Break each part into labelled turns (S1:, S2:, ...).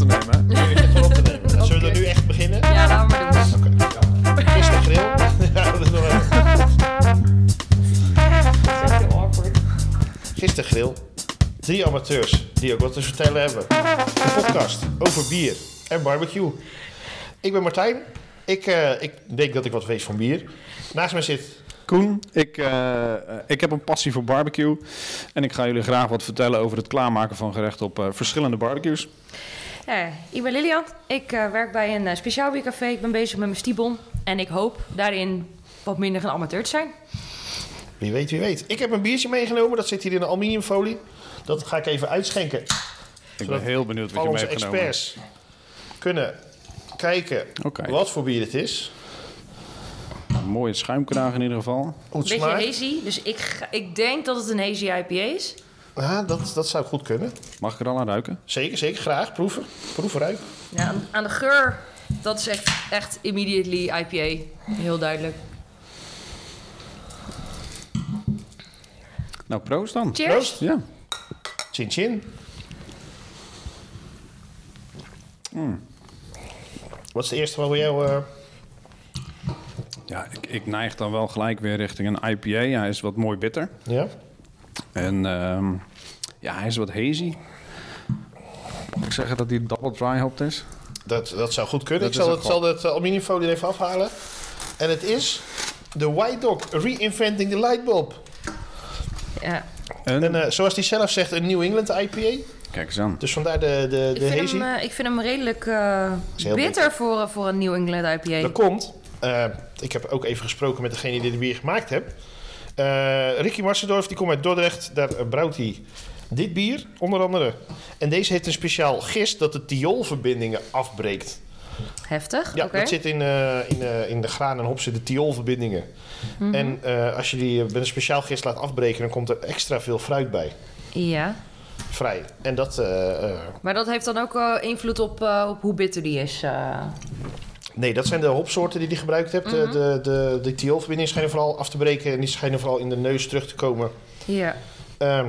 S1: Gisteren grill. Drie amateurs die ook wat te vertellen hebben. Een podcast over bier en barbecue. Ik ben Martijn. Ik, eh, ik denk dat ik wat weet van bier. Naast mij zit...
S2: Koen, ik, eh, ik heb een passie voor barbecue. En ik ga jullie graag wat vertellen over het klaarmaken van gerechten op eh, verschillende barbecues.
S3: Ja, ik ben Lilian. Ik eh, werk bij een eh, speciaal biercafé. Ik ben bezig met mijn stiebon. En ik hoop daarin wat minder een amateur te zijn.
S1: Wie weet, wie weet. Ik heb een biertje meegenomen. Dat zit hier in een aluminiumfolie. Dat ga ik even uitschenken.
S2: Ik
S1: Zodat
S2: ben heel benieuwd wat
S1: Al
S2: je mee
S1: onze
S2: hebt genomen.
S1: experts kunnen kijken
S2: Oké.
S1: wat voor bier het is.
S2: Een mooie schuimkraag in ieder geval.
S1: Hoe het
S3: Beetje
S1: smaakt.
S3: hazy. Dus ik, ga- ik denk dat het een hazy IPA is.
S1: Ja, dat, dat zou goed kunnen.
S2: Mag ik er al aan ruiken?
S1: Zeker, zeker. Graag. Proeven. Proeven, ruiken.
S3: Ja, aan, aan de geur, dat is echt, echt immediately IPA. Heel duidelijk.
S2: Nou, proost dan.
S3: Cheers.
S1: Proost.
S2: Ja,
S1: Chin chin.
S2: Mm.
S1: Wat is de eerste waar we jou... eh,
S2: ja ik, ik neig dan wel gelijk weer richting een IPA. Hij is wat mooi bitter.
S1: ja?
S2: En ehm, ja, hij is wat hazy. Mag ik zeggen dat hij double dry hopped is?
S1: Dat, dat zou goed kunnen.
S2: Dat
S1: ik
S2: is
S1: zal
S2: ook
S1: het, zal het eh, aluminiumfolie er even afhalen. En het is de White Dog Reinventing the Lightbulb.
S3: Ja.
S2: En,
S1: En eh, zoals die zelf zegt, een New England IPA.
S2: kijk eens aan.
S1: Dus vandaar de, de,
S3: Ik,
S1: de
S3: vind
S1: hazy.
S3: hem, eh, ik vind hem redelijk eh,
S1: Is heel
S3: bitter,
S1: bitter.
S3: Voor, eh, voor een New England IPA.
S1: Dat komt. eh, ik heb ook even gesproken met degene die de bier gemaakt heeft. Eh, Ricky Marsendorf, die komt uit Dordrecht. Daar eh, brouwt hij dit bier, onder andere. En deze heeft een speciaal gist dat de thioolverbindingen afbreekt.
S3: Heftig.
S1: Ja,
S3: Oké.
S1: dat zit in, eh, in, eh, in de graan en hop zitten thioolverbindingen. En eh, als je die eh, met een speciaal gist laat afbreken, dan komt er extra veel fruit bij.
S3: ja.
S1: Vrij. En dat, eh, eh,
S3: Maar dat heeft dan ook eh, invloed op, eh, op hoe bitter die is. eh.
S1: nee, dat zijn de hopsoorten die hij gebruikt hebt. De- De, de, de thioolverbindingen schijnen vooral af te breken en die schijnen vooral in de neus terug te komen.
S3: Ja.
S1: Ehm,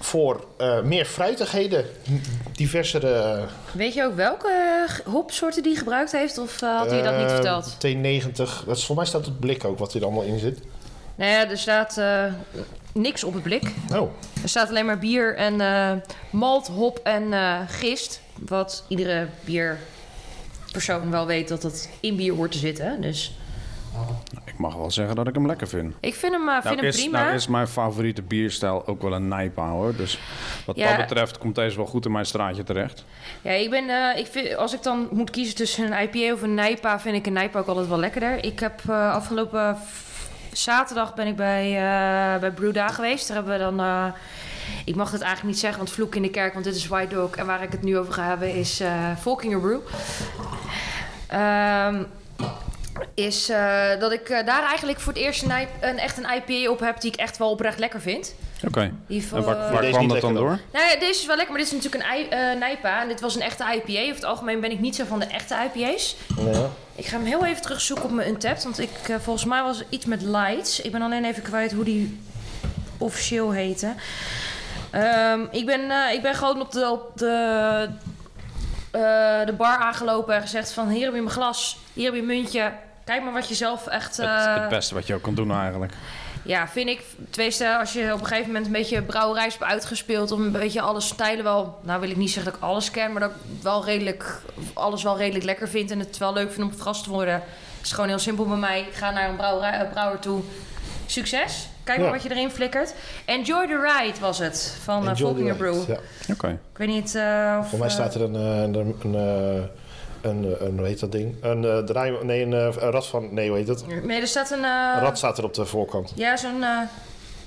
S1: voor eh, meer fruitigheden, m- diversere... eh,
S3: Weet je ook welke eh, hopsoorten die gebruikt heeft? Of eh, had hij dat niet
S1: eh,
S3: verteld?
S1: T90, dat is, volgens mij staat op het blik ook wat hier allemaal in zit.
S3: Nou ja, er staat eh, niks op het blik.
S1: Oh,
S3: Er staat alleen maar bier en eh, malt, hop en eh, gist. Wat iedere bierpersoon wel weet dat dat in bier hoort te zitten. Dus
S2: Ik mag wel zeggen dat ik hem lekker vind.
S3: ik vind hem, eh, vind
S2: Nou
S3: hem
S2: is,
S3: prima.
S2: nou is mijn favoriete bierstijl ook wel een nijpa hoor. Dus wat
S3: Ja.
S2: dat betreft komt deze wel goed in mijn straatje terecht.
S3: Ja, ik ben, eh, ik vind, als ik dan moet kiezen tussen een IPA of een Nijpa, vind ik een Nijpa ook altijd wel lekkerder. Ik heb eh, afgelopen v- zaterdag ben ik bij, eh bij Brewda geweest. Daar hebben we dan, eh, ik mag het eigenlijk niet zeggen, want vloek in de kerk, want dit is White Dog. En waar ik het nu over ga hebben is eh Volkinger Brew. Ehm, is eh, dat ik eh, daar eigenlijk voor het eerst een, I- een, echt een IPA op heb die ik echt wel oprecht lekker vind.
S2: Oké.
S3: Die
S2: En waar,
S3: eh,
S2: waar
S1: Deze
S2: kwam
S1: niet
S2: dat dan
S1: lekker
S2: door?
S3: nou ja, deze is wel lekker, maar dit is natuurlijk een I- eh, Nijpa. En dit was een echte IPA. Over het algemeen ben ik niet zo van de echte IPA's.
S1: ja.
S3: Ik ga hem heel even terugzoeken op mijn Untapped. Want ik, eh, volgens mij was het iets met Lights. Ik ben alleen even kwijt hoe die officieel heette. Ehm, ik, ben, eh, ik ben gewoon op de, op de, eh, de bar aangelopen en gezegd van... Hier heb je mijn glas, hier heb je een muntje. Kijk maar wat je zelf echt...
S2: Het,
S3: eh,
S2: het beste wat je ook kan doen eigenlijk.
S3: ja, vind ik. Tenminste, als je op een gegeven moment een beetje brouwerijs hebt uitgespeeld... of een beetje alle stijlen wel... nou wil ik niet zeggen dat ik alles ken... maar dat ik wel redelijk, alles wel redelijk lekker vind... en het wel leuk vind om verrast te worden... is gewoon heel simpel bij mij. Ik ga naar een brouwerij, eh, brouwer toe. Succes. Kijk maar
S1: Ja.
S3: wat je erin flikkert. Enjoy the ride was het, van uh,
S1: Enjoy the
S3: Volkinger
S1: ride,
S3: Brew.
S1: Ja.
S2: Oké.
S3: Ik weet niet eh, of...
S1: Voor mij
S3: eh,
S1: staat er een, eh, een, een, eh, een, eh, een hoe heet dat ding? Een eh, draai, nee, een, eh, een rat van, nee, hoe heet dat?
S3: Nee, er staat een... eh,
S1: Een rat staat er op de voorkant.
S3: Ja, zo'n... eh,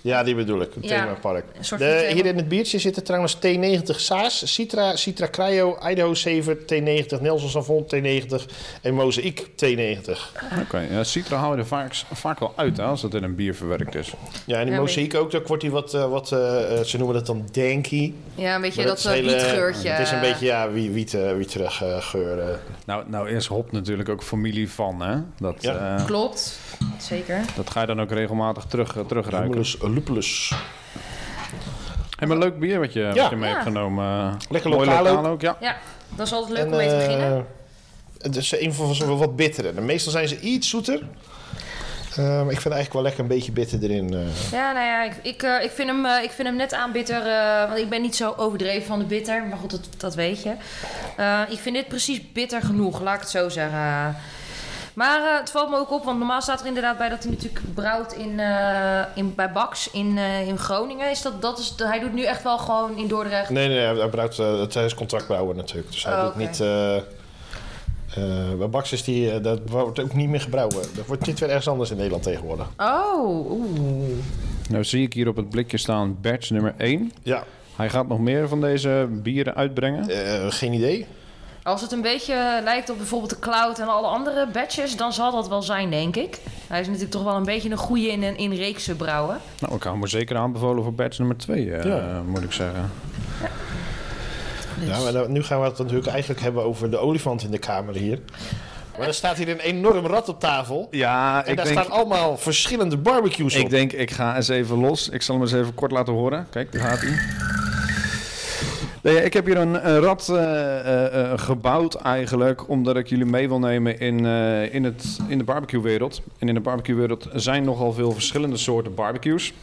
S1: Ja, die bedoel ik. Een
S3: Ja,
S1: themapark.
S3: een soort
S1: De-
S3: van thema.
S1: hier in het biertje zitten trouwens T90 Saas, Citra, Citra Cryo, Idaho 7, T90, Nelson Savon T90 en Mozaïek T90.
S2: Oké. Ja, citra haal je er vaak, vaak wel uit hè, als het in een bier verwerkt is.
S1: Ja, en die
S3: Ja,
S1: Mozaïek ook, daar wordt hij wat, eh, wat eh, eh, ze noemen dat dan danky.
S3: ja, een beetje
S1: Maar
S3: dat,
S1: is
S3: eh,
S1: hele-
S3: wietgeurtje.
S1: Het is een beetje, ja, wie- wiet, eh, wieterig eh, geur. eh.
S2: Nou, nou is hop natuurlijk ook familie van hè. Dat,
S1: Ja.
S2: eh,
S3: Klopt, zeker.
S2: dat ga je dan ook regelmatig terug, eh, terugruiken.
S1: Humulus lupulus.
S2: Heb een leuk bier wat je,
S1: Ja.
S2: wat je mee hebt
S3: Ja.
S2: genomen. eh,
S1: Lekker
S2: mooi
S1: lokaal ook.
S2: Ja.
S3: Ja, dat is altijd leuk
S1: En,
S3: om mee te
S1: eh,
S3: beginnen.
S1: Het is in ieder geval zo wat bitterder. En Meestal zijn ze iets zoeter. Ehm, ik vind eigenlijk wel lekker een beetje bitter erin. eh.
S3: Ja, nou ja, ik, ik, eh, ik, vind, hem, eh, ik vind hem net aan bitter. eh, want ik ben niet zo overdreven van de bitter. Maar goed, dat, dat weet je. Eh, ik vind dit precies bitter genoeg, laat ik het zo zeggen. Maar eh, het valt me ook op, want normaal staat er inderdaad bij dat hij natuurlijk brouwt in, eh, in, bij Bax in, eh, in Groningen. Is dat, dat is, hij doet nu echt wel gewoon in Dordrecht.
S1: Nee, nee, nee, hij brouwt eh, het is contractbrouwer natuurlijk. Dus hij
S3: Oh,
S1: doet
S3: oké.
S1: niet... eh eh, bij Bax is die, eh, dat wordt ook niet meer gebrouwen. Dat wordt niet weer ergens anders in Nederland tegenwoordig.
S3: Oh, oeh.
S2: Nou zie ik hier op het blikje staan batch nummer 1.
S1: Ja,
S2: Hij gaat nog meer van deze bieren uitbrengen.
S1: eh, geen idee.
S3: Als het een beetje lijkt op bijvoorbeeld de cloud en alle andere badges, dan zal dat wel zijn, denk ik. Hij is natuurlijk toch wel een beetje een goede in, in reekse brouwen.
S2: Nou, ik hou me zeker aanbevolen voor batch nummer 2,
S1: Ja.
S2: moet ik zeggen.
S3: Dus-
S1: Ja, maar dan- nu gaan we het natuurlijk eigenlijk hebben over de olifant in de kamer hier. Maar er staat hier een enorm rad op tafel.
S2: Ja,
S1: En daar staan allemaal verschillende barbecues op.
S2: ik denk, ik ga eens even los. Ik zal hem eens even kort laten horen. Kijk, daar gaat hij. Nee, ik heb hier een, een rad eh, eh, eh, gebouwd eigenlijk, omdat ik jullie mee wil nemen in, eh, in, het, in de barbecue-wereld. En in de barbecue-wereld zijn nogal veel verschillende soorten barbecues.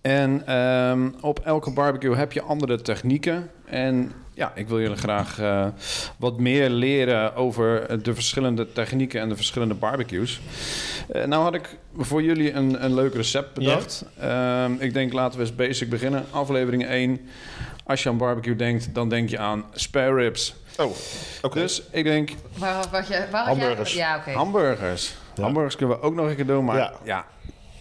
S2: En ehm, op elke barbecue heb je andere technieken. En ja, ik wil jullie graag eh, wat meer leren over de verschillende technieken en de verschillende barbecues. Eh, nou had ik voor jullie een, een leuk recept bedacht. Ehm, ik denk laten we eens basic beginnen. Aflevering 1. Als je aan barbecue denkt, dan denk je aan spare ribs.
S1: Oh, oké.
S2: Dus ik denk
S3: Waar, wat je, waar had
S1: Hamburgers.
S3: Jij, ja, oké.
S2: hamburgers.
S1: Ja.
S2: Hamburgers kunnen we ook nog een keer doen, maar
S1: Ja.
S2: ja.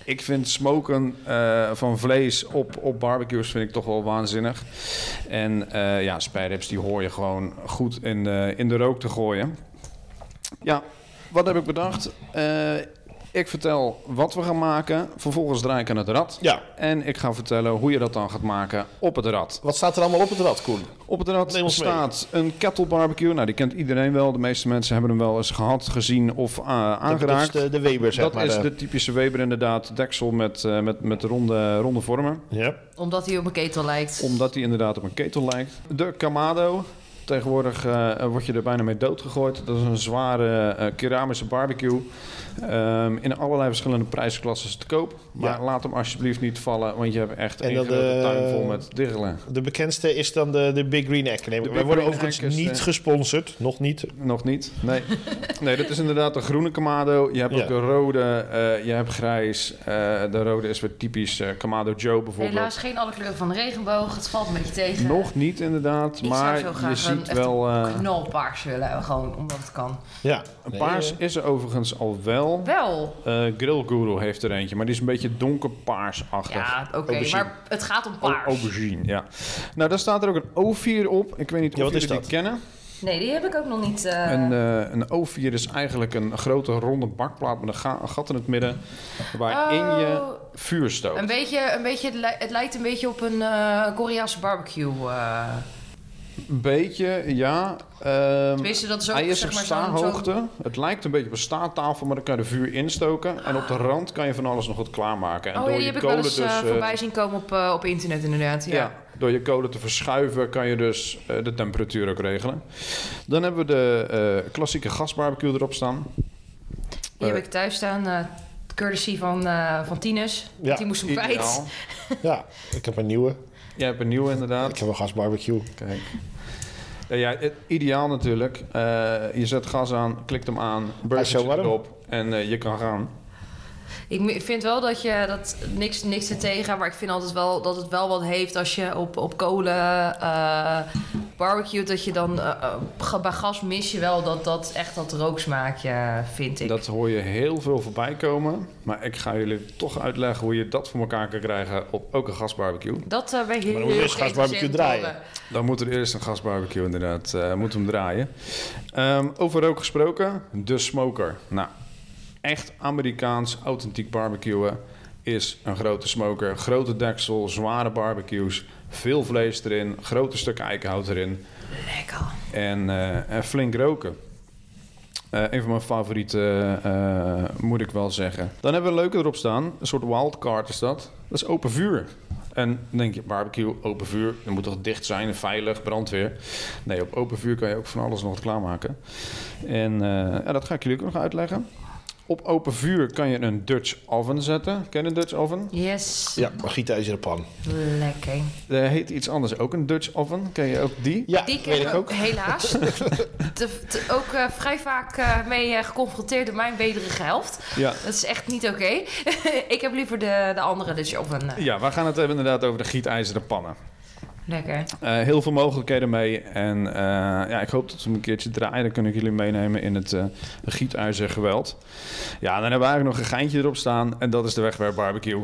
S2: Ik vind smoken eh, van vlees op, op barbecues vind ik toch wel waanzinnig. En eh ja, spijrips die hoor je gewoon goed in de, in de rook te gooien. Ja, wat heb ik bedacht? Eh, ik vertel wat we gaan maken. Vervolgens draai ik aan het rad.
S1: Ja,
S2: En ik ga vertellen hoe je dat dan gaat maken op het rad.
S1: wat staat er allemaal op het rad, Koen?
S2: Op het rad
S1: Neem ons mee.
S2: staat een kettle barbecue. Nou, die kent iedereen wel. De meeste mensen hebben hem wel eens gehad, gezien of eh,
S1: Dat
S2: aangeraakt.
S1: is de, de Weber, zeg
S2: Dat
S1: maar.
S2: is
S1: eh.
S2: de typische Weber inderdaad. Deksel met, eh, met, met ronde, ronde vormen.
S1: Ja.
S3: Omdat hij op een ketel lijkt.
S2: Omdat die inderdaad op een ketel lijkt. De Kamado. Tegenwoordig eh, word je er bijna mee doodgegooid. Dat is een zware eh, keramische barbecue. Ehm, in allerlei verschillende prijsklassen te koop. Maar
S1: Ja.
S2: laat hem alsjeblieft niet vallen, want je hebt echt
S1: En
S2: een
S1: dat,
S2: grote
S1: eh,
S2: tuin vol met diggelen.
S1: De bekendste is dan de, de Big Green Egg. Nee,
S2: Big
S1: wij worden
S2: Green
S1: overigens
S2: Egg is,
S1: niet
S2: eh,
S1: gesponsord. Nog niet.
S2: Nog niet. Nee. nee, dat is inderdaad de groene Kamado. Je hebt
S1: Ja.
S2: ook de rode, eh, je hebt grijs. Eh, de rode is weer typisch eh Kamado Joe bijvoorbeeld.
S3: Helaas geen alle kleuren van de regenboog. Het valt een beetje tegen.
S2: Nog niet inderdaad,
S3: zou
S2: maar
S3: zo graag
S2: je
S3: een
S2: ziet
S3: echte
S2: wel... eh,
S3: Knalpaars willen, gewoon omdat het kan.
S1: Ja.
S2: een paars
S1: Nee,
S2: is er overigens al wel.
S3: Wel.
S2: Eh Grill Guru heeft er eentje, maar die is een beetje donkerpaarsachtig.
S3: Ja, oké.
S1: Aubergine.
S3: maar het gaat om
S2: O-
S3: paars.
S2: Aubergine, ja. Nou, daar staat er ook een O4 op. Ik weet niet
S1: Ja,
S2: of
S1: wat is
S2: jullie die
S1: dat?
S2: kennen.
S3: nee, die heb ik ook nog niet. eh,
S2: Een, eh, een O4 is eigenlijk een grote ronde bakplaat met een, ga- een gat in het midden. Waarin
S3: Oh.
S2: je vuur stookt.
S3: een beetje, een beetje, het, li- het lijkt een beetje op een eh Koreaanse barbecue. eh.
S2: Een beetje, ja. Ehm,
S3: Tenminste, dat is ook
S2: hij is
S3: zeg
S2: op
S3: maar zo'n-
S2: staanhoogte. Het lijkt een beetje op een staattafel, maar dan kan je er vuur instoken. En op de rand kan je van alles nog wat klaarmaken. En
S3: Oh ja, die heb ik wel eens eh,
S2: eh,
S3: voorbij zien komen op, eh, op internet inderdaad. Ja.
S2: ja. door je kolen te verschuiven kan je dus eh, de temperatuur ook regelen. Dan hebben we de eh, klassieke gasbarbecue erop staan.
S3: Die heb
S2: Eh.
S3: ik thuis staan. eh courtesy van, eh van Tinus.
S1: Ja,
S3: die moest hem kwijt.
S2: Ideaal.
S1: Ja, ik heb een nieuwe.
S2: Jij hebt een nieuwe inderdaad.
S1: Ik heb een gasbarbecue.
S2: Kijk. Ja, ja, het- ideaal natuurlijk. Eh, je zet gas aan, klikt hem aan, burgertje
S1: warm.
S2: erop en eh, je kan gaan.
S3: Ik me- vind wel dat je dat niks, niks te tegen, maar ik vind altijd wel dat het wel wat heeft als je op, op kolen eh barbecue, dat je dan eh, eh, ga- bij gas mis je wel dat, dat echt dat rooksmaakje, vind ik.
S2: Dat hoor je heel veel voorbij komen. Maar ik ga jullie toch uitleggen hoe je dat voor elkaar kan krijgen op ook een gasbarbecue.
S3: Dat eh, ben ik heel
S1: Maar dan moet je eerst gasbarbecue
S3: geïnteresseerd
S1: draaien.
S3: in.
S2: Dan moet er eerst een gasbarbecue inderdaad, eh moet hem draaien. Ehm, over rook gesproken, de smoker. Nou, echt Amerikaans authentiek barbecuen is een grote smoker. Grote deksel, zware barbecues, veel vlees erin, grote stukken eikenhout erin.
S3: Lekker.
S2: en, eh, en flink roken. Eh, een van mijn favorieten, eh, moet ik wel zeggen. Dan hebben we een leuke erop staan. Een soort wildcard is dat. Dat is open vuur. En dan denk je, barbecue, open vuur. Dat moet toch dicht zijn, veilig, brandweer. Nee, op open vuur kan je ook van alles nog wat klaarmaken. En eh, ja, dat ga ik jullie ook nog uitleggen. Op open vuur kan je een Dutch oven zetten. Ken je een Dutch oven?
S3: Yes.
S1: Ja, maar gietijzeren pan.
S3: Lekker.
S2: Er heet iets anders ook een Dutch oven. Ken je ook die?
S1: Ja,
S3: Die
S1: weet ik ook.
S3: helaas. Te- te- ook eh, vrij vaak eh, mee eh, geconfronteerd door mijn wederige helft.
S2: Ja.
S3: Dat is echt niet oké. ik heb liever de, de andere, dus of een... eh,
S2: Ja, we gaan het hebben inderdaad over de gietijzeren pannen.
S3: Lekker.
S2: Eh, heel veel mogelijkheden mee. En eh, ja, ik hoop dat we hem een keertje draaien. Dan kunnen ik jullie meenemen in het eh gietijzer geweld. Ja, en dan hebben we eigenlijk nog een geintje erop staan. En dat is de wegwerp barbecue.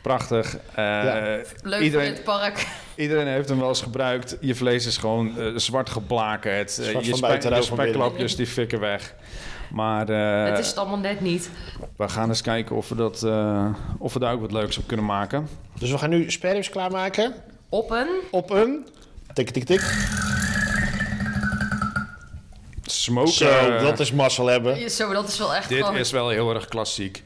S2: Prachtig. Eh,
S1: Ja.
S3: Leuk
S2: Iedereen-
S3: in het park.
S2: Iedereen heeft hem wel eens gebruikt. Je vlees is gewoon eh, zwart geblakerd. Eh,
S1: Zwart
S2: je,
S1: van buiten,
S2: je
S1: rauw van binnen.
S2: speklapjes die fikken weg. Maar eh,
S3: het is het allemaal net niet.
S2: we gaan eens kijken of we, dat, eh, of we daar ook wat leuks op kunnen maken.
S1: Dus we gaan nu sperrips klaarmaken
S3: Op een...
S1: op een... Tik, tik, tik.
S2: Smoken.
S1: Zo, dat is mazzel hebben.
S3: Zo, dat is wel echt
S2: Dit
S3: gewoon...
S2: is wel heel erg klassiek.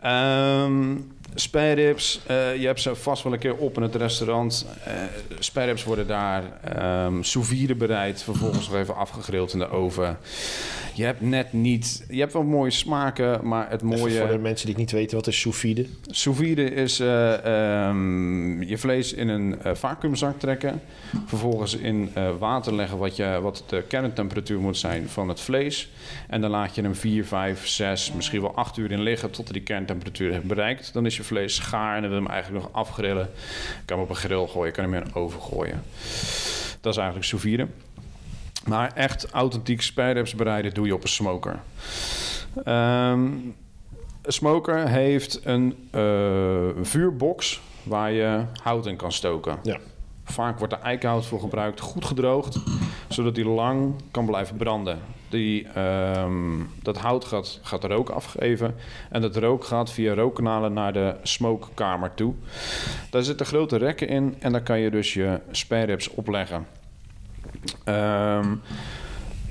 S2: Ehm spijrips, eh, je hebt ze vast wel een keer op in het restaurant. Eh spijrips worden daar ehm sous vide bereid, vervolgens nog even afgegrild in de oven. Je hebt net niet, je hebt wel mooie smaken, maar het
S1: Even voor de
S2: mooie
S1: mensen die het niet weten, wat is sous vide?
S2: sous vide is eh, ehm, je vlees in een eh, vacuümzak trekken, vervolgens in eh, water leggen wat, je, wat de kerntemperatuur moet zijn van het vlees. En dan laat je hem 4, 5, 6, misschien wel 8 uur in liggen tot hij die kerntemperatuur heeft bereikt. Dan is je vlees gaar en dan wil je hem eigenlijk nog afgrillen. Je kan hem op een grill gooien, je kan hem in een oven gooien. Dat is eigenlijk sous vide. Maar echt authentiek spijrips bereiden doe je op een smoker. Ehm, een smoker heeft een eh, vuurbox waar je hout in kan stoken.
S1: Ja.
S2: Vaak wordt er eikenhout voor gebruikt, goed gedroogd, zodat die lang kan blijven branden. Die, ehm, dat hout gaat, gaat rook afgeven en dat rook gaat via rookkanalen naar de smokekamer toe. Daar zitten grote rekken in en daar kan je dus je spareribs opleggen. Ehm,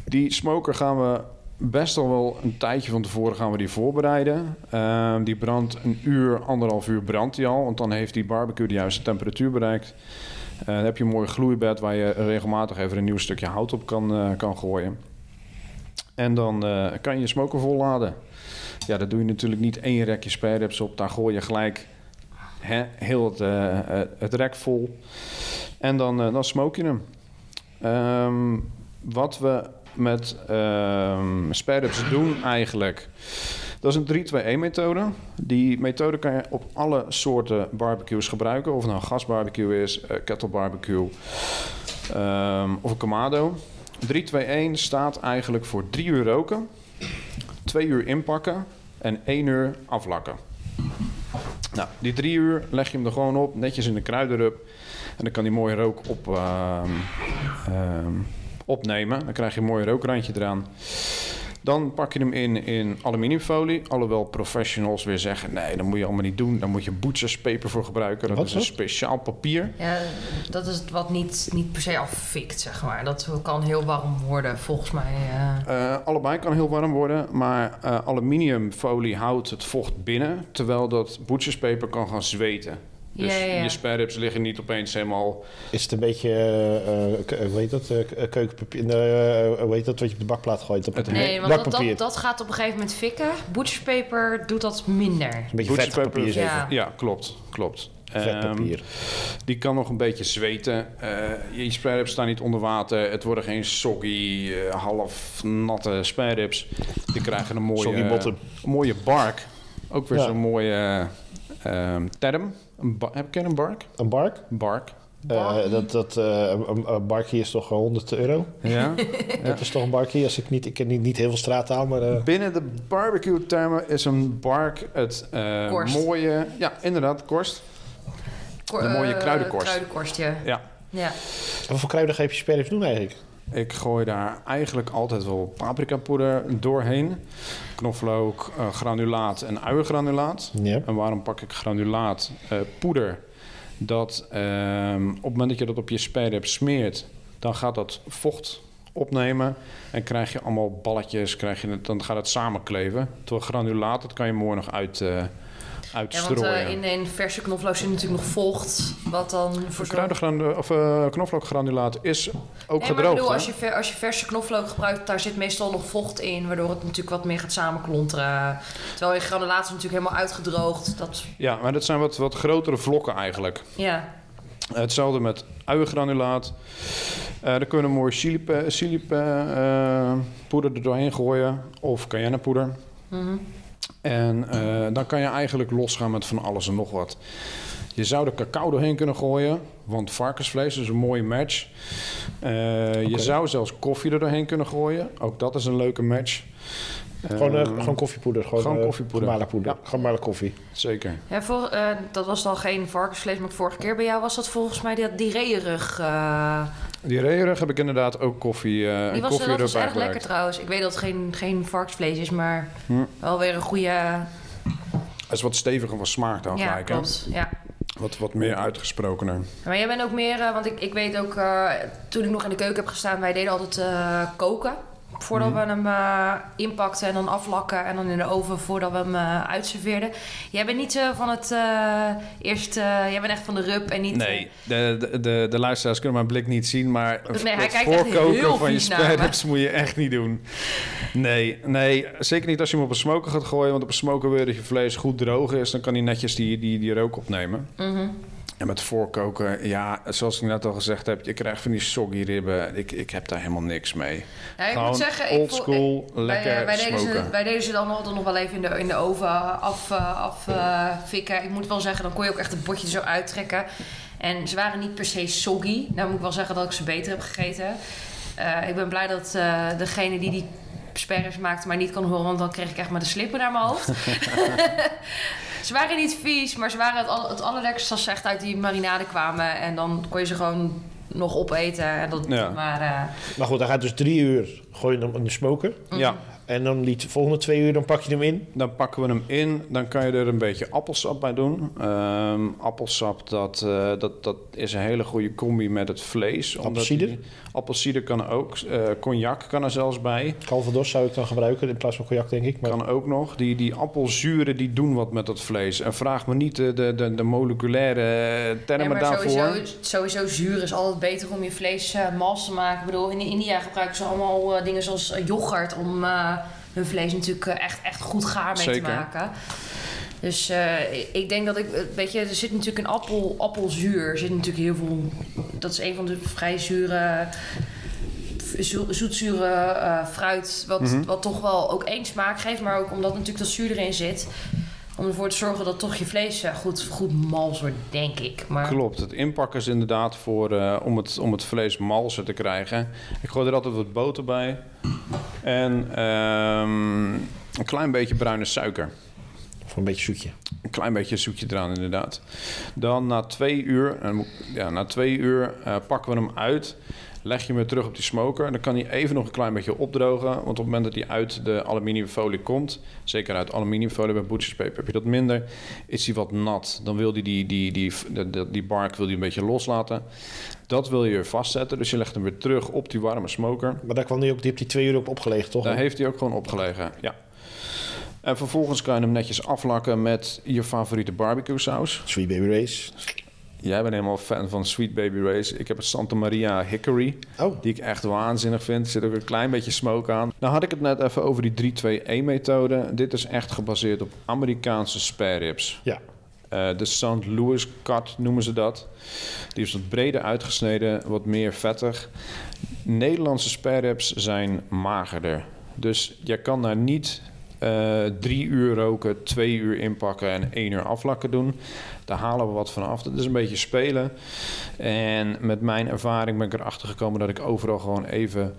S2: die smoker gaan we best al wel een tijdje van tevoren gaan we die voorbereiden. Ehm, die brandt een uur, anderhalf uur brandt die al, want dan heeft die barbecue de juiste temperatuur bereikt. Eh, dan heb je een mooi gloeibed waar je regelmatig even een nieuw stukje hout op kan, eh, kan gooien. En dan eh, kan je je smoker volladen. Ja, dat doe je natuurlijk niet één rekje spareribs op. Daar gooi je gelijk hè, heel het, eh, eh, het rek vol. En dan, eh, dan smoke je hem. Ehm, wat we met ehm spareribs doen eigenlijk... Dat is een 3-2-1-methode. Die methode kan je op alle soorten barbecues gebruiken. Of het nou een gasbarbecue is, eh kettle barbecue ehm, of een kamado. 3-2-1 staat eigenlijk voor 3 uur roken, 2 uur inpakken en 1 uur aflakken. Nou, die 3 uur leg je hem er gewoon op, netjes in de kruidenrub. En dan kan die mooie rook op, ehm, ehm, opnemen. Dan krijg je een mooi rookrandje eraan. Dan pak je hem in in aluminiumfolie. Alhoewel professionals weer zeggen: nee, dat moet je allemaal niet doen. Daar moet je boetserspeper voor gebruiken. Dat
S1: Wat
S2: is
S1: is
S2: een
S1: dat?
S2: speciaal papier.
S3: Ja, dat is het wat niet, niet per se afvikt, zeg maar. Dat kan heel warm worden, volgens mij. eh.
S2: Eh, allebei kan heel warm worden, maar eh, aluminiumfolie houdt het vocht binnen, terwijl dat boetserspeper kan gaan zweten. Dus
S3: Ja, ja, ja.
S2: je spareribs liggen niet opeens helemaal...
S1: Is het een beetje, eh, eh, ke- eh, hoe heet dat, eh, ke- eh, keukenpapier, eh, eh, hoe heet dat wat je op de bakplaat gooit? Dat
S2: Het
S1: papier.
S3: Nee, want dat,
S1: Bakpapier.
S3: dat, dat gaat op een gegeven moment fikken. Butcherspaper doet dat minder.
S1: Een beetje vettig
S2: Boetjespeper.
S1: papier zeker.
S3: Ja.
S2: Ja, klopt, klopt.
S1: Vet
S2: Ehm,
S1: papier.
S2: die kan nog een beetje zweten. Eh, je spareribs staan niet onder water. Het worden geen soggy, eh, half natte spareribs. Die krijgen een mooie,
S1: Soggy bottom.
S2: een mooie bark. Ook weer
S1: Ja.
S2: zo'n mooie eh, ehm, term. Een ba- heb ik een bark?
S1: Een bark?
S2: Bark.
S1: Eh, dat, dat, eh, een, een barkie is toch gewoon 100 euro?
S2: Ja.
S1: Dat is toch een barkie? Als ik, niet, ik ken niet, niet heel veel straattaal, maar... eh,
S2: Binnen de barbecue-termen is een bark het eh,
S3: Korst.
S2: mooie... Ja, inderdaad, korst.
S3: Ko-
S2: Een mooie
S3: eh,
S2: kruidenkorst.
S3: Kruidenkorstje.
S2: Ja.
S3: Ja.
S1: wat voor kruiden ga je op je sperrips doen eigenlijk?
S2: Ik gooi daar eigenlijk altijd wel paprikapoeder doorheen. Knoflook, eh, granulaat en uiengranulaat.
S1: Ja.
S2: En waarom pak ik granulaat? Eh, poeder, dat ehm, op het moment dat je dat op je spareribs smeert... dan gaat dat vocht opnemen en krijg je allemaal balletjes. Krijg je het, dan gaat het samenkleven. Terwijl granulaat, dat kan je mooi nog uit... eh,
S3: Ja, want
S2: uitstrooien.
S3: eh, in, in verse knoflook zit natuurlijk nog vocht, wat dan voor zo'n...
S2: Kruidengrandu- of eh, knoflookgranulaat is ook
S3: Nee, maar ik
S2: gedroogd.
S3: bedoel,
S2: hè?
S3: als je, ver- als je verse knoflook gebruikt, daar zit meestal nog vocht in, waardoor het natuurlijk wat meer gaat samenklonteren. Terwijl je granulaat is natuurlijk helemaal uitgedroogd. Dat,
S2: Ja, maar dat zijn wat, wat grotere vlokken eigenlijk. Eh,
S3: ja.
S2: Hetzelfde met uiengranulaat. Eh daar kunnen we mooi chili, pe- chili pe- eh, poeder er doorheen gooien. Of cayennepoeder.
S3: Mhm.
S2: En eh, dan kan je eigenlijk losgaan met van alles en nog wat. Je zou er cacao doorheen kunnen gooien, want varkensvlees is een mooie match. Eh, Je zou zelfs koffie er doorheen kunnen gooien, ook dat is een leuke match.
S1: Gewoon, eh,
S2: Eh,
S1: gewoon koffiepoeder. Gewoon,
S2: gewoon
S1: eh,
S2: koffiepoeder.
S1: gemalen poeder.
S2: Ja.
S1: Gemalen koffie.
S2: Zeker.
S3: Ja, voor, eh, dat was dan geen varkensvlees, maar vorige keer bij jou was dat volgens mij dat die reeënrug, eh
S2: Die reerig heb ik inderdaad ook koffie, eh
S3: die
S2: een
S3: was, dat
S2: koffie
S3: was
S2: erbij
S3: erg lekker
S2: gebruikt.
S3: trouwens. Ik weet dat het geen, geen varkensvlees is, maar
S2: Hm.
S3: wel weer een goede...
S2: Dat is wat steviger van smaak dan
S3: Ja,
S2: gelijk. hè?
S3: klopt. Ja.
S2: Wat, wat meer uitgesprokener.
S3: Maar jij bent ook meer, eh, want ik, ik weet ook, eh, toen ik nog in de keuken heb gestaan, wij deden altijd eh, koken.
S2: Hm.
S3: Voordat we hem eh, inpakten en dan aflakken en dan in de oven voordat we hem eh, uitserveerden. Jij bent niet eh, van het eh, eerst, eh, jij bent echt van de rub en niet... eh,
S2: Nee, de, de, de, de luisteraars kunnen mijn blik niet zien, maar
S3: Nee, hij
S2: het
S3: kijkt echt
S2: voorkoken
S3: heel
S2: van je
S3: vies naar me.
S2: spareribs moet je echt niet doen. Nee, nee, zeker niet als je hem op een smoker gaat gooien, want op een smoker wil je dat je vlees goed droog is, dan kan hij netjes die, die, die rook opnemen.
S3: Mhm.
S2: En met voorkoken, ja, zoals ik net al gezegd heb, je krijgt van die soggy ribben, ik, ik heb daar helemaal niks mee.
S3: Ja, ik
S2: Gewoon
S3: moet zeggen, ik voel- ik-
S2: oldschool, lekker
S3: wij, eh, wij deden
S2: smoken.
S3: ze, wij deden ze dan altijd nog wel even in de, in de oven affikken. Af, eh, fikken. ik moet wel zeggen, dan kon je ook echt het botje er zo uittrekken. En ze waren niet per se soggy. Nou moet ik wel zeggen dat ik ze beter heb gegeten. Eh, ik ben blij dat eh, degene die die sperrers maakte mij niet kan horen, want dan kreeg ik echt maar de slippen naar mijn hoofd. ze waren niet vies, maar ze waren het, al, het allerlekkerste als ze echt uit die marinade kwamen. En dan kon je ze gewoon nog opeten. En dat,
S2: Ja.
S3: Maar eh,
S1: Maar goed, dan gaat dus drie uur gooi je hem in de smoker.
S3: Mm.
S2: Ja,
S1: En dan die t- volgende twee uur dan pak je hem in.
S2: Dan pakken we hem in. Dan kan je er een beetje appelsap bij doen. Ehm, appelsap, dat, eh, dat, dat is een hele goede combi met het vlees. omdat
S1: Appelsieder?
S2: die- Appelsieder kan ook. eh, cognac kan er zelfs bij.
S1: Calvados zou ik dan gebruiken in plaats van cognac, denk ik. Maar
S2: Kan ook nog. Die, die appelzuren die doen wat met dat vlees. En vraag me niet de, de, de, de moleculaire eh, termen
S3: Ja, maar
S2: daarvoor.
S3: sowieso, sowieso zuur is altijd beter om je vlees eh mals te maken. Ik bedoel, in India gebruiken ze allemaal eh, dingen zoals eh, yoghurt om eh, hun vlees natuurlijk eh, echt, echt goed gaar mee
S2: Zeker.
S3: te maken. Dus eh, ik- ik denk dat ik, eh, weet je, er zit natuurlijk een appel, appelzuur, er zit natuurlijk heel veel, dat is een van de vrij zure, zo- zoetzure eh, fruit, wat,
S2: Mhm.
S3: wat toch wel ook één smaak geeft, maar ook omdat natuurlijk dat zuur erin zit, om ervoor te zorgen dat toch je vlees eh, goed, goed mals wordt, denk ik. Maar,
S2: Klopt, het inpakken is inderdaad voor, eh, om, het, om het vlees malser te krijgen. Ik gooi er altijd wat boter bij. En ehm, een klein beetje bruine suiker.
S1: voor een beetje zoetje.
S2: Een klein beetje zoekje eraan, inderdaad. Dan na twee uur, en dan moet ik- ja, na twee uur eh, pakken we hem uit. Leg je hem weer terug op die smoker. En dan kan hij even nog een klein beetje opdrogen. Want op het moment dat hij uit de aluminiumfolie komt, zeker uit aluminiumfolie bij Butchers Paper heb je dat minder, is hij wat nat. Dan wil hij die, die, die, die, die, die bark wil die een beetje loslaten. Dat wil je weer vastzetten. Dus je legt hem weer terug op die warme smoker.
S1: Maar daar kwam hij ook, die heeft die twee uur op opgelegen, toch?
S2: Daar heeft hij ook gewoon opgelegen, ja. En vervolgens kan je hem netjes aflakken met je favoriete barbecue saus.
S1: Sweet Baby Race.
S2: Jij bent helemaal fan van Sweet Baby Ray's. Ik heb een Santa Maria Hickory,
S1: Oh,
S2: die ik echt waanzinnig vind. Er zit ook een klein beetje smoke aan. Nou had ik het net even over die 3-2-1-methode. Dit is echt gebaseerd op Amerikaanse spare ribs.
S1: ja.
S2: Eh, de St. Louis cut noemen ze dat. Die is wat breder uitgesneden, wat meer vettig. Nederlandse spare ribs zijn magerder. Dus je kan daar niet eh, drie uur roken, twee uur inpakken en één uur aflakken doen. Daar halen we wat van af. Dat is een beetje spelen. En met mijn ervaring ben ik erachter gekomen dat ik overal gewoon even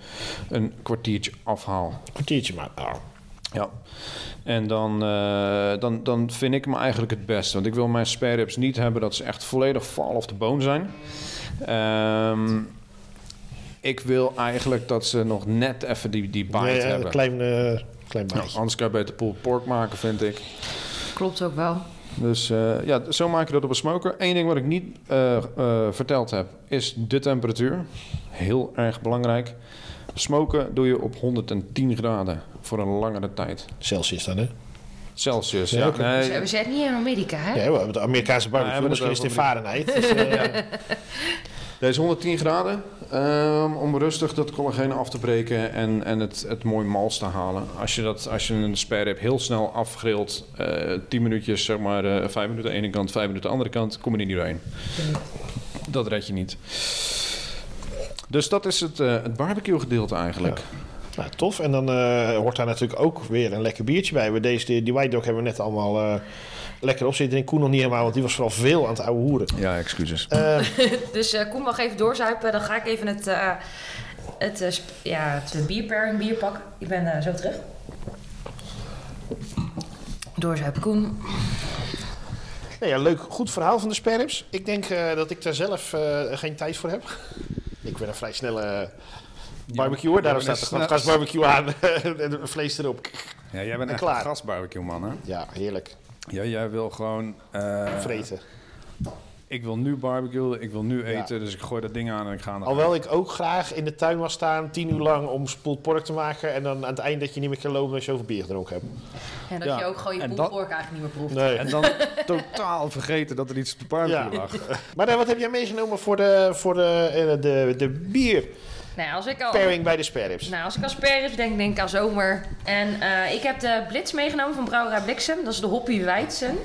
S2: een kwartiertje afhaal.
S1: Kwartiertje maar. Oh.
S2: Ja. En dan, eh, dan, dan vind ik hem eigenlijk het beste. Want ik wil mijn spare ribs niet hebben dat ze echt volledig fall of the bone zijn. Ehm, ik wil eigenlijk dat ze nog net even die, die bite
S1: Ja, ja,
S2: hebben.
S1: een klein, eh, klein
S2: Ja,
S1: baantje.
S2: anders kan je beter pulled pork maken, vind ik.
S3: Klopt ook wel.
S2: Dus eh, ja, zo maak je dat op een smoker. Eén ding wat ik niet eh, eh, verteld heb, is de temperatuur. Heel erg belangrijk. Smoken doe je op 110 graden voor een langere tijd.
S1: Celsius dan, hè?
S2: Celsius.
S1: Ja,
S2: Ja,
S1: oké.
S2: nee,
S3: Zo, Dus, eh, we zijn niet in Amerika, hè?
S1: Nee, we hebben de Amerikaanse barbecue.
S2: Ja, we hebben
S1: misschien
S2: het
S1: is het in
S2: over
S1: Fahrenheit. Dus, eh,
S2: Deze 110 graden ehm, om rustig dat collageen af te breken en, en het, het mooi mals te halen. Als je, dat, als je een spare rib heel snel afgrilt, eh 10 minuutjes, zeg maar eh 5 minuten aan de ene kant, 5 minuten aan de andere kant, kom je er niet doorheen. Dat red je niet. Dus dat is het, eh, het barbecue gedeelte eigenlijk.
S1: nou, tof. En dan eh, hoort daar natuurlijk ook weer een lekker biertje bij. We deze, die, die White Dog hebben we net allemaal eh, lekker op zitten. En Koen nog niet helemaal, want die was vooral veel aan het ouwe hoeren.
S2: Ja, excuses.
S1: Eh,
S3: Dus eh, Koen mag even doorzuipen. Dan ga ik even het, eh, het, eh, sp- ja, het bierpairing bier pakken. Ik ben eh, zo terug. Doorzuipen, Koen.
S1: nou ja, leuk, goed verhaal van de sperms. Ik denk eh, dat ik daar zelf eh, geen tijd voor heb. ik ben een vrij snelle eh, barbecue. Daarom
S2: Ja, maar
S1: staat
S2: dat
S1: de
S2: is-
S1: gasbarbecue aan en het vlees erop.
S2: Ja, jij bent
S1: en
S2: echt
S1: klaar.
S2: een gasbarbecue man, hè?
S1: Ja, heerlijk.
S2: Ja, jij wil gewoon... eh,
S1: Vreten.
S2: ik wil nu barbecue, ik wil nu eten, dus ik gooi dat ding aan en ik ga naar
S1: Alhoewel ik ook graag in de tuin was staan, tien uur lang om spoeld pork te maken. En dan aan het eind dat je niet meer kan lopen als je over bier gedronken hebt.
S3: En dat
S2: Ja,
S3: je ook gewoon je
S2: en dat-
S3: poelpork eigenlijk niet meer proeft.
S1: Nee.
S2: En dan totaal vergeten dat er iets op de barbecue
S1: Ja.
S2: lag.
S1: Maar eh, wat heb jij meegenomen voor de, voor de, eh, de, de bierpairing
S3: Nou, als ik al...
S1: bij de sperrips?
S3: Nou, als ik aan sperrips denk, denk ik aan zomer. En eh, ik heb de Blitz meegenomen van Brouwerij Bliksem. Dat is de Hoppy Weidsen.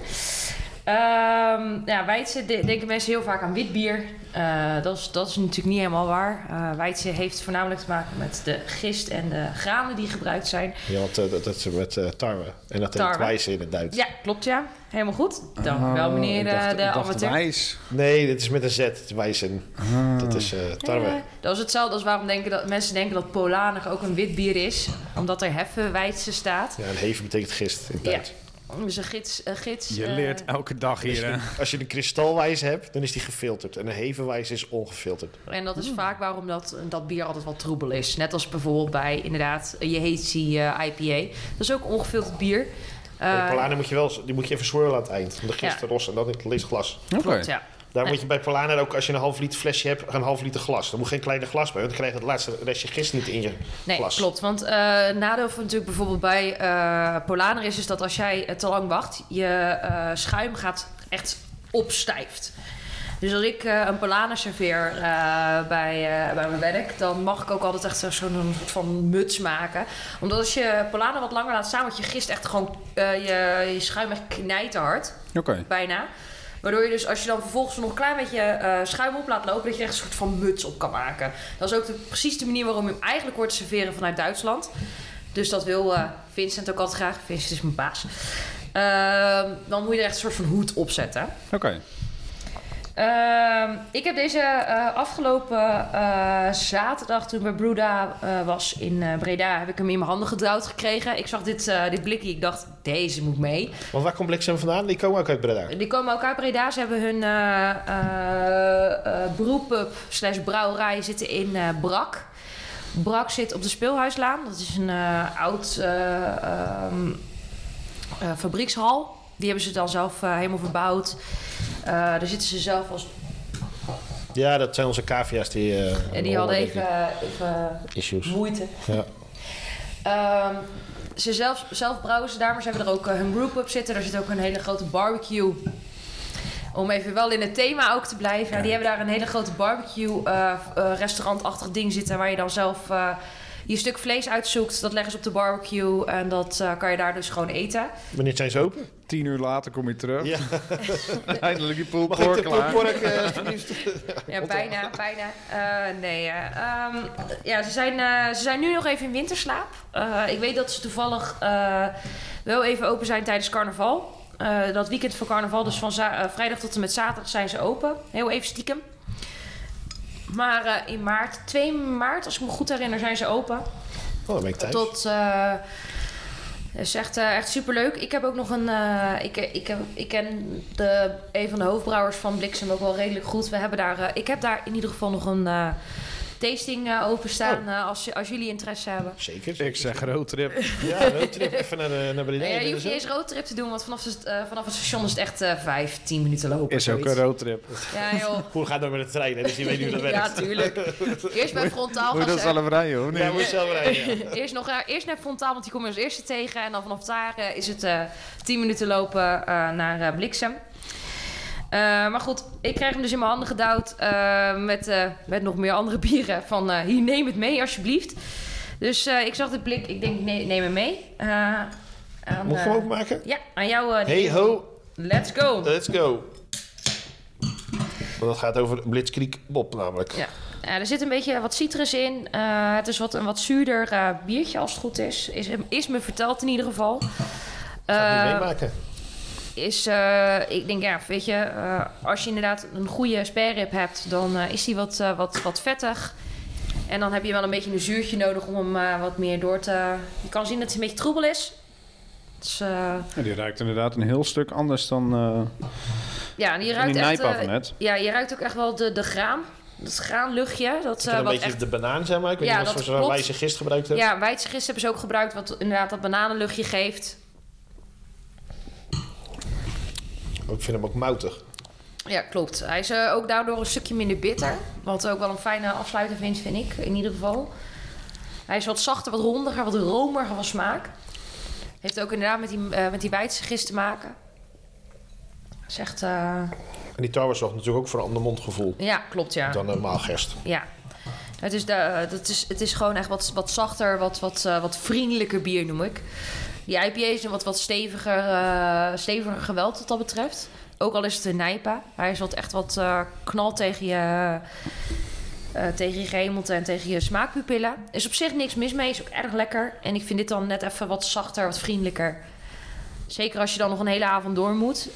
S3: Ehm ja, Weidsen de- denken mensen heel vaak aan wit bier. Eh, dat, is, dat is natuurlijk niet helemaal waar. Eh Weidsen heeft voornamelijk te maken met de gist en de granen die gebruikt zijn.
S1: Ja, want eh, dat, dat is met eh, tarwe. En dat heet
S3: Tarwe.
S1: wijze in het Duits.
S3: Ja, klopt ja. Helemaal goed. Dank u wel, meneer
S2: Oh, Ik
S3: eh,
S2: dacht-
S3: de
S2: ik dacht
S3: amateur.
S2: wijs.
S1: Nee, dit is met een Z. Wijzen.
S2: Ah.
S1: Dat is eh, tarwe.
S3: Eh, dat is hetzelfde als waarom denken dat, mensen denken dat Polanig ook een wit bier is. Omdat er heffen Weidsen staat.
S1: Ja, en heven betekent gist in het
S3: Ja.
S1: Duits.
S3: Dus een gids... Een gids
S2: Je
S3: eh,
S2: leert elke dag hier, hè?
S1: Als je een kristalwijze hebt, dan is die gefilterd. En een hevenwijze is ongefilterd.
S3: En dat is vaak waarom dat, eh, dat bier altijd wat troebel is. Net als bijvoorbeeld bij inderdaad Jehetsi eh IPA. Dat is ook ongefilterd bier.
S1: Bij
S3: Eh,
S1: de Polana moet je wel, die moet je even swirlen aan het eind. Om de gist
S3: Ja.
S1: te rossen en dan in het glas.
S2: Oké.
S3: klopt, ja.
S1: Daar
S3: Nee.
S1: moet je bij Polana ook, als je een half liter flesje hebt, een half liter glas. Dan moet geen kleine glas bij, want dan krijg je het laatste restje gist niet in je
S3: Nee,
S1: glas.
S3: klopt. Want eh nadeel van natuurlijk bijvoorbeeld bij eh Polaner is, is dat als jij eh, te lang wacht, je eh, schuim gaat echt opstijft. Dus als ik eh, een Polaner serveer eh, bij, eh, bij mijn werk, dan mag ik ook altijd echt zo- zo'n soort van muts maken. Omdat als je Polaner wat langer laat staan, want je gist echt gewoon eh, je, je schuim echt knijterhard
S2: Oké.
S3: bijna. Waardoor je dus als je dan vervolgens nog een klein beetje eh, schuim op laat lopen, dat je er echt een soort van muts op kan maken. Dat is ook de, precies de manier waarom je hem eigenlijk hoort te serveren vanuit Duitsland. Dus dat wil eh, Vincent ook altijd graag. Vincent is mijn baas. Ehm, dan moet je er echt een soort van hoed op zetten.
S2: Oké.
S3: Ehm, ik heb deze eh, afgelopen eh, zaterdag toen ik bij Bruda eh, was in eh, Breda, heb ik hem in mijn handen gedouwd gekregen. Ik zag dit, eh, dit blikje, ik dacht, deze moet mee.
S1: Want waar komt Bliksem vandaan? Die komen ook uit Breda.
S3: Die komen ook uit Breda. Ze hebben hun eh eh, eh, brewpub slash brouwerij zitten in eh, Brak. Brak zit op de Speelhuislaan. Dat is een eh, oud eh, ehm, eh, fabriekshal. Die hebben ze dan zelf eh, helemaal verbouwd. Eh, daar zitten ze zelf als...
S1: Ja, dat zijn onze cavia's die... eh,
S3: en die hadden
S1: denk ik,
S3: even, even
S1: Issues.
S3: moeite.
S1: Ja.
S3: Ehm, ze zelf, zelf brouwen ze daar, maar ze hebben er ook eh, hun brewpub zitten. Daar zit ook een hele grote barbecue. Om even wel in het thema ook te blijven. Die hebben daar een hele grote barbecue eh, eh, restaurantachtig ding zitten. Waar je dan zelf eh, je stuk vlees uitzoekt. Dat leggen ze op de barbecue. En dat eh, kan je daar dus gewoon eten.
S1: Wanneer zijn ze open?
S2: Tien uur later kom je terug.
S1: Ja.
S2: Eindelijk die
S1: Mag ik
S2: poolpork
S1: de
S2: klaar.
S1: popcorn, eh, alsjeblieft?
S3: Ja, bijna, bijna. Eh, nee, ja. Ehm, ja, ze zijn, eh, ze zijn nu nog even in winterslaap. Eh, ik weet dat ze toevallig eh, wel even open zijn tijdens carnaval. Eh, dat weekend voor carnaval, dus van za- eh, vrijdag tot en met zaterdag zijn ze open. Heel even stiekem. Maar eh, in maart, 2 maart, als ik me goed herinner, zijn ze open.
S1: Oh, dan ben ik thuis.
S3: Tot. eh dat is echt, eh, echt superleuk. Ik heb ook nog een. eh, ik, ik, heb- ik ken de, een van de hoofdbrouwers van Bliksem ook wel redelijk goed. We hebben daar, eh, ik heb daar in ieder geval nog een eh, tasting eh, openstaan
S1: Oh.
S3: eh, als, als jullie interesse hebben.
S1: Zeker.
S2: Ik zeg roadtrip.
S1: Ja, roadtrip even naar, de, naar beneden.
S3: Nee, je
S1: Dat
S3: hoeft
S1: is
S3: niet
S1: ook-
S3: eens roadtrip te doen, want vanaf, het- eh, vanaf het station is het echt eh, vijf, tien minuten lopen.
S2: Is ook een
S3: zoiets.
S2: roadtrip.
S3: Ja, joh.
S1: Hoe gaat dat met de trein? Hè? Dus je weet niet hoe dat
S3: ja,
S1: werkt.
S3: tuurlijk. Eerst bij frontaal
S2: Moet je
S3: gaan
S2: dat
S3: ze-
S2: zelf rijden, hoor?
S1: Ja, moet je zelf rijden. ja.
S3: eerst, nog, eh, eerst naar frontaal, want die kom je als eerste tegen. En dan vanaf daar eh, is het eh 10 minuten lopen eh, naar eh, Bliksem. Eh, maar goed, ik kreeg hem dus in mijn handen gedouwd eh, met, eh, met nog meer andere bieren. Van eh, hier, neem het mee alsjeblieft. Dus eh, ik zag de blik, ik denk nee, neem hem mee. Eh, aan,
S1: Moet ik
S3: eh,
S1: hem ook maken?
S3: Ja, aan jou. eh,
S1: Hey ho, Eh.
S3: Let's go.
S1: let's go. Want het gaat over Blitzkrieg Bob namelijk.
S3: Ja. Ja, er zit een beetje wat citrus in. Eh, het is wat, een wat zuurder eh, biertje als het goed is. is. Is me verteld in ieder geval.
S1: Gaat niet
S3: Eh,
S1: meemaken.
S3: is, eh, ik denk, ja, weet je, eh, als je inderdaad een goede sparerib hebt, dan eh, is die wat, eh, wat, wat vettig. En dan heb je wel een beetje een zuurtje nodig om hem eh, wat meer door te... Je kan zien dat het een beetje troebel is. Dus, eh,
S2: Ja, die ruikt inderdaad een heel stuk anders dan eh
S3: ja, en je
S2: in
S3: ruikt
S2: die
S3: echt...
S2: nijpa
S3: eh,
S2: van net.
S3: ja, je ruikt ook echt wel de, de graan. Dat graanluchtje. Dat,
S1: Ik
S3: eh,
S1: kan een
S3: wat
S1: beetje
S3: echt,
S1: de banaan zijn, maar ik weet
S3: Ja,
S1: niet
S3: dat
S1: wat voor
S3: klopt.
S1: wijze gist gebruikt hebben.
S3: ja, wijdgist hebben ze ook gebruikt, wat inderdaad dat bananenluchtje geeft.
S1: Ik vind hem ook moutig.
S3: Ja, klopt. Hij is eh, ook daardoor een stukje minder bitter. Wat ook wel een fijne afsluiter vindt, vind ik in ieder geval. Hij is wat zachter, wat rondiger, wat romiger van smaak. Heeft ook inderdaad met die, eh, met die Weidse gist te maken. Dat is echt... eh,
S1: En die tarwe zorgt natuurlijk ook voor een ander mondgevoel
S3: ja, klopt ja.
S1: dan normaal gerst.
S3: Ja. Het is, de, eh, dat is, het is gewoon echt wat, wat zachter, wat, wat, eh, wat vriendelijker bier noem ik. Die IPA is een wat, wat steviger, eh, steviger geweld wat dat betreft. Ook al is het een Nijpa. Hij is wat, echt wat eh, knal tegen je, eh, tegen je gehemelte en tegen je smaakpupillen. Is op zich niks mis mee, is ook erg lekker. En ik vind dit dan net even wat zachter, wat vriendelijker. Zeker als je dan nog een hele avond door moet.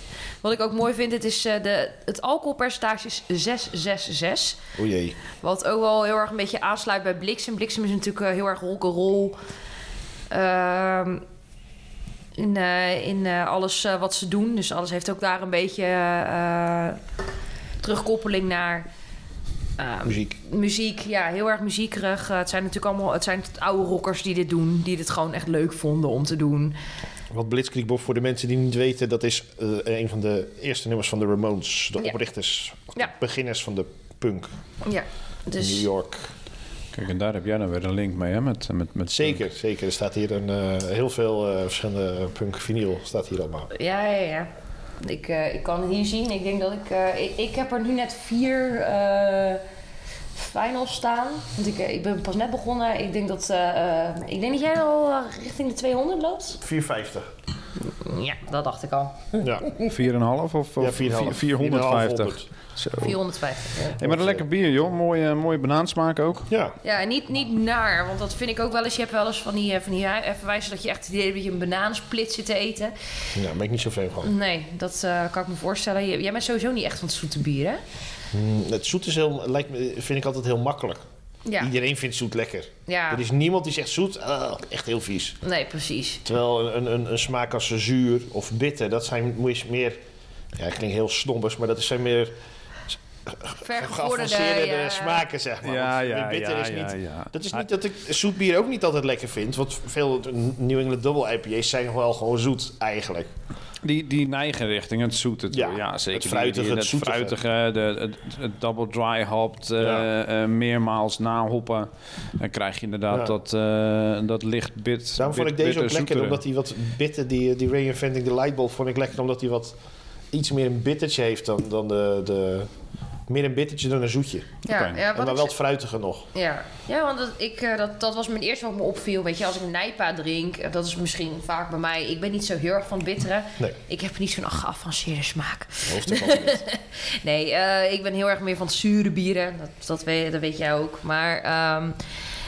S3: Wat ik ook mooi vind, het, is, eh, de, het alcoholpercentage is 666.
S1: O jee.
S3: Wat ook wel heel erg een beetje aansluit bij Bliksem. Bliksem is natuurlijk eh, heel erg rock'n'roll. Ehm in eh, in eh, alles eh, wat ze doen. Dus alles heeft ook daar een beetje eh, terugkoppeling naar eh,
S1: Muziek.
S3: muziek. Ja, heel erg muziekerig. Eh, het zijn natuurlijk allemaal het zijn oude rockers die dit doen. Die dit gewoon echt leuk vonden om te doen.
S1: Want Blitzkrieg Bob, voor de mensen die niet weten, dat is eh, een van de eerste nummers van de Ramones. De
S3: Ja.
S1: oprichters,
S3: Ja.
S1: beginners van de punk
S3: Ja,
S1: in New
S3: dus
S1: York.
S2: Kijk, en daar heb jij dan weer een link mee, hè? Met, eh, met, met
S1: Zeker, zeker. Er staat hier een, eh, heel veel eh, verschillende punk vinyl staat hier allemaal.
S3: ja, ja, ja. Ik, eh, ik kan het hier zien. Ik denk dat ik, eh, ik... Ik heb er nu net vier eh finals staan. Want ik, eh, ik ben pas net begonnen. Ik denk dat, eh, eh, ik denk dat jij al eh, richting de 200 loopt.
S1: 450.
S3: Ja, dat dacht ik al.
S1: Ja,
S2: 4,5 of,
S1: ja
S2: of
S1: 4,5.
S2: 450?
S1: 4,5.
S2: Zo.
S3: 450. Oh. Ja.
S2: Hey, maar een lekker bier, joh. Mooie, mooie banaansmaak ook.
S1: Ja,
S3: Ja, en niet, niet naar, want dat vind ik ook wel eens. Je hebt wel eens van die, eh, van die hui- verwijzen dat je echt het idee hebt dat je een banaansplit zit te eten.
S1: nou, daar ben ik niet zo vreemd van.
S3: Nee, dat eh, kan ik me voorstellen. J- Jij bent sowieso niet echt van het zoete bier, hè?
S1: Mm, Het zoet is heel, lijkt me, vind ik altijd heel makkelijk.
S3: Ja,
S1: Iedereen vindt zoet lekker.
S3: ja.
S1: Er is niemand die zegt zoet, ah, echt heel vies.
S3: nee, precies.
S1: Terwijl een, een, een, een smaak als zuur of bitter, dat zijn moest meer... Ja, het klinkt heel snobbers, maar dat zijn meer
S3: vergevorderde
S1: geavanceerde
S3: ja.
S1: smaken, zeg maar. Want bitter is niet...
S2: ja.
S1: Dat is niet dat ik zoet bier ook niet altijd lekker vind. Want veel New England Double IPA's zijn wel gewoon zoet eigenlijk.
S2: Die, die neigen richting het zoete. toe.
S1: Ja,
S2: Ja, zeker.
S1: het fruitige,
S2: Die- die-
S1: het zoetige.
S2: fruitige, de, het, het double dry hopped, eh,
S1: Ja.
S2: eh, meermaals nahoppen. Dan krijg je inderdaad
S1: Ja.
S2: dat, eh, dat licht bit.
S1: Daarom vond ik
S2: bit-
S1: deze
S2: bitter
S1: ook lekker,
S2: zoetere.
S1: omdat die wat bitter, die, die Reinventing the Lightbulb vond ik lekker, omdat die wat iets meer een bittertje heeft dan, dan de, de... Meer een bittertje dan een zoetje.
S3: Ja,
S2: Oké.
S3: ja,
S1: En
S3: wat
S1: dan
S3: ik
S1: wel het fruitige nog.
S3: z- ja. ja, want dat, ik, eh, dat, dat was mijn eerste wat me opviel. Weet je, als ik een Nijpa drink, eh, dat is misschien vaak bij mij. Ik ben niet zo heel erg van het bittere.
S1: Nee.
S3: Ik heb niet zo'n geavanceerde smaak.
S1: Hoeft ook allemaal niet.
S3: Nee, eh, ik ben heel erg meer van zure bieren. Dat, dat, weet, dat weet jij ook. Maar ehm,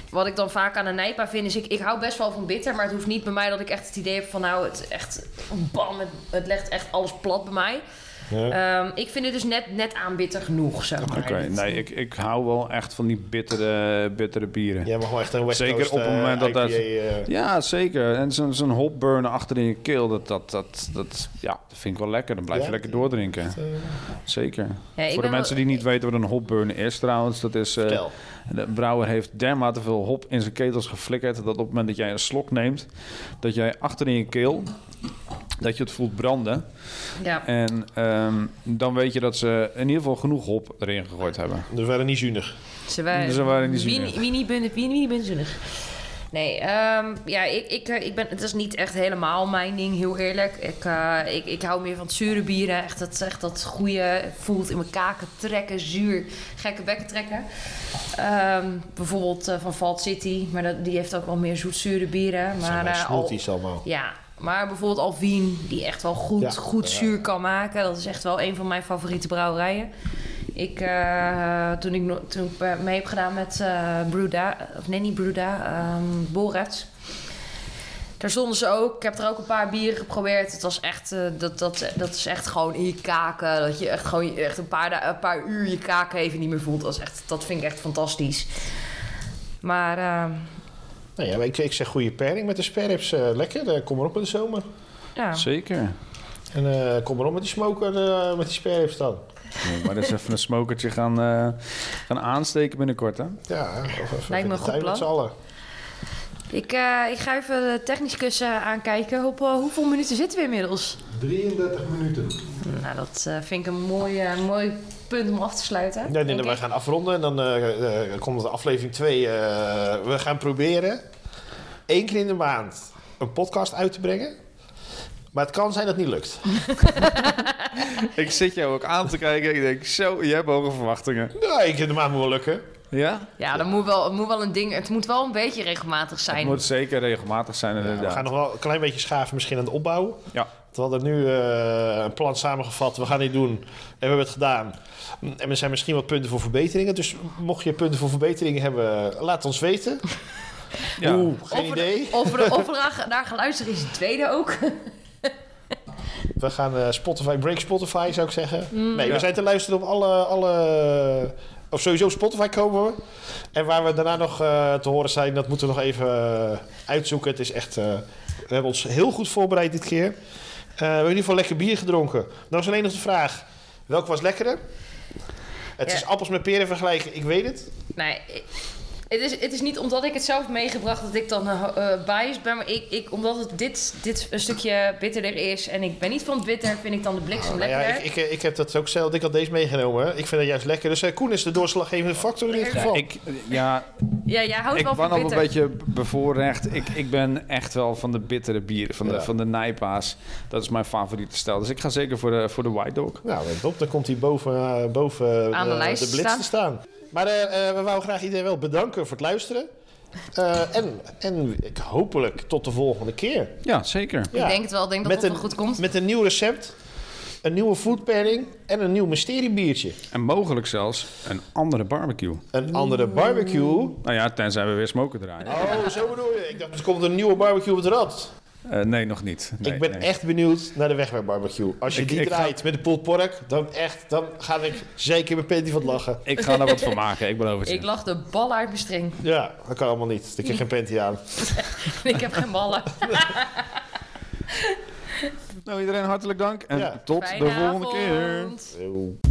S3: wat ik dan vaak aan een Nijpa vind, is ik, ik hou best wel van bitter. Maar het hoeft niet bij mij dat ik echt het idee heb van nou, het, echt, bam, het, het legt echt alles plat bij mij.
S1: Ja.
S3: Ehm, ik vind het dus net, net aan bitter genoeg, zeg maar.
S2: Oké, nee, ik, ik hou wel echt van die bittere, bittere bieren. Ja.
S1: Jij mag wel echt een West
S2: Zeker
S1: Coast,
S2: op het
S1: eh,
S2: moment dat
S1: IPA,
S2: dat-
S1: eh,
S2: zeker. En zo'n zo'n hopburn achter in je keel, dat, dat, dat, dat, ja, dat vind ik wel lekker. Dan blijf je
S1: Ja.
S2: lekker doordrinken.
S1: eh,
S2: Zeker.
S3: Ja, ik
S2: Voor de
S3: ben
S2: mensen
S3: wel-
S2: die niet weten wat een hopburn is trouwens, dat is... eh,
S1: vertel.
S2: de brouwer heeft dermate veel hop in zijn ketels geflikkerd... dat op het moment dat jij een slok neemt, dat jij achter in je keel... dat je het voelt branden.
S3: Ja.
S2: En ehm, dan weet je dat ze in ieder geval genoeg hop erin gegooid hebben.
S1: Dus we waren niet zuinig.
S3: Ze waren,
S2: Dus Ze waren niet
S3: mini,
S2: zuinig.
S3: mini, bun- mini, mini bunzinnig. Nee, ehm, ja, ik, ik, eh, ik ben, het is niet echt helemaal mijn ding, heel eerlijk. Ik, eh, ik, ik hou meer van het zure bieren. Echt dat, echt dat goede voelt in mijn kaken trekken, zuur, gekke bekken trekken. Ehm, bijvoorbeeld eh, van Vault City, maar dat, die heeft ook wel meer zoetzure bieren.
S1: Dat zijn
S3: Maar,
S1: mijn
S3: eh, al,
S1: smoothies allemaal.
S3: ja, maar bijvoorbeeld Alvin, die echt wel goed,
S1: Ja,
S3: goed
S1: ja.
S3: zuur kan maken. Dat is echt wel een van mijn favoriete brouwerijen. Ik, eh, toen ik, no- toen ik eh, mee heb gedaan met eh Bruda, of nee, niet Bruda, ehm Borat. Daar stonden ze ook. Ik heb er ook een paar bieren geprobeerd. Het was echt, eh, dat, dat, dat is echt gewoon in je kaken. Dat je echt gewoon echt een, paar, da- een paar uur je kaken even niet meer voelt. Dat, is echt, dat vind ik echt fantastisch. Maar ehm,
S1: Nou ja, maar ik, ik zeg goede pairing met de sperrips. eh, lekker, Eh, kom maar op in de zomer.
S3: ja.
S2: Zeker.
S1: En eh, kom maar op met die smoker, eh, met die sperrips dan.
S2: Ja, maar dat is even een smokertje gaan, eh, gaan aansteken binnenkort, hè?
S1: Ja, of, of- of
S3: me
S1: in de
S3: een goed
S1: tuin
S3: plan.
S1: Met z'n allen.
S3: Ik, eh, ik ga even de technicus eh, aankijken. Op eh, hoeveel minuten zitten we inmiddels?
S4: 33 minuten.
S3: Nou, dat eh, vind ik een mooi, eh, mooi punt om af te sluiten.
S1: Ja, nee,
S3: denk
S1: nee, wij
S3: ik.
S1: gaan afronden en dan eh, eh, komt de aflevering 2. we gaan proberen één keer in de maand een podcast uit te brengen. Maar het kan zijn dat het niet lukt.
S2: Ik zit jou ook aan te kijken. Ik denk, zo, je hebt hoge verwachtingen.
S1: Nou, één keer in de maand moet wel lukken. Eh,
S2: Ja?
S3: Ja, dat moet wel, het moet wel een ding. Het moet wel een beetje regelmatig
S2: Het
S3: zijn.
S2: moet zeker regelmatig zijn,
S1: we gaan
S2: inderdaad.
S1: nog wel een klein beetje schaven misschien aan de opbouw.
S2: Ja.
S1: We hadden nu eh, een plan samengevat. We gaan dit doen. En we hebben het gedaan. En er zijn misschien wat punten voor verbeteringen. Dus mocht je punten voor verbeteringen hebben, laat ons weten.
S2: Ja.
S1: Oeh, geen
S3: Of we,
S1: idee.
S3: of we, of we daar, daar gaan luisteren is het tweede ook.
S1: We gaan eh, Spotify, break Spotify zou ik zeggen.
S3: Mm.
S1: nee,
S2: Ja.
S1: we zijn te luisteren op alle, alle... Of sowieso op Spotify komen we. En waar we daarna nog eh, te horen zijn, dat moeten we nog even eh, uitzoeken. Het is echt... eh, we hebben ons heel goed voorbereid dit keer. Eh, we hebben in ieder geval lekker bier gedronken. Dan is alleen nog de vraag, welke was lekkerder? Het
S3: Ja.
S1: is appels met peren vergelijken, ik weet het.
S3: Nee, ik- het is, het is niet omdat ik het zelf heb meegebracht dat ik dan eh, eh, biased ben. Maar ik, ik, omdat het dit, dit een stukje bitterder is en ik ben niet van het bitter, vind ik dan de bliksem
S1: Nou ja,
S3: lekkerder.
S1: ik, ik, ik heb dat ook zelf, ik had deze meegenomen. Ik vind dat juist lekker. Dus eh, Koen is de doorslaggevende factor in dit
S3: Ja,
S1: geval.
S2: Ik, ja,
S3: ja, jij houdt
S2: ik
S3: wel
S2: ben
S3: van
S2: al
S3: bitter.
S2: een beetje bevoorrecht. Ik, ik ben echt wel van de bittere bieren, van de,
S1: Ja.
S2: van de nijpaas. Dat is mijn favoriete stijl. Dus ik ga zeker voor de, voor de White Dog.
S1: Nou, let op, dan komt hij boven, eh, boven
S3: Aan de lijst
S1: blitz
S3: staan.
S1: te staan. Maar eh, eh, we wouden graag iedereen wel bedanken voor het luisteren. Eh, en en ik, hopelijk tot de volgende keer.
S2: Ja, zeker.
S1: Ja.
S3: Ik denk het wel, ik denk dat
S1: met
S3: het
S1: een,
S3: wel goed komt.
S1: Met een nieuw recept, een nieuwe food pairing en een nieuw mysteriebiertje.
S2: En mogelijk zelfs een andere barbecue.
S1: Een andere barbecue.
S2: Nou ja, tenzij we weer smoken draaien.
S1: Oh, zo bedoel je. Ik dacht, er komt een nieuwe barbecue op het rad.
S2: Eh, nee, nog niet. Nee,
S1: ik ben
S2: nee.
S1: echt benieuwd naar de wegwerkbarbecue. Als je
S2: Ik-
S1: die
S2: ik ga-
S1: draait met de pulled pork, dan echt, dan ga ik zeker mijn panty van lachen.
S2: Ik ga daar wat van maken, ik beloof het je.
S3: Ik lag de bal uit mijn string.
S1: Ja, dat kan allemaal niet. Ik heb geen panty aan.
S3: ik heb geen ballen.
S2: Nou, iedereen hartelijk dank en
S1: Ja.
S2: tot de
S3: Fijne
S2: volgende keer.
S3: avond.
S1: Eeuw.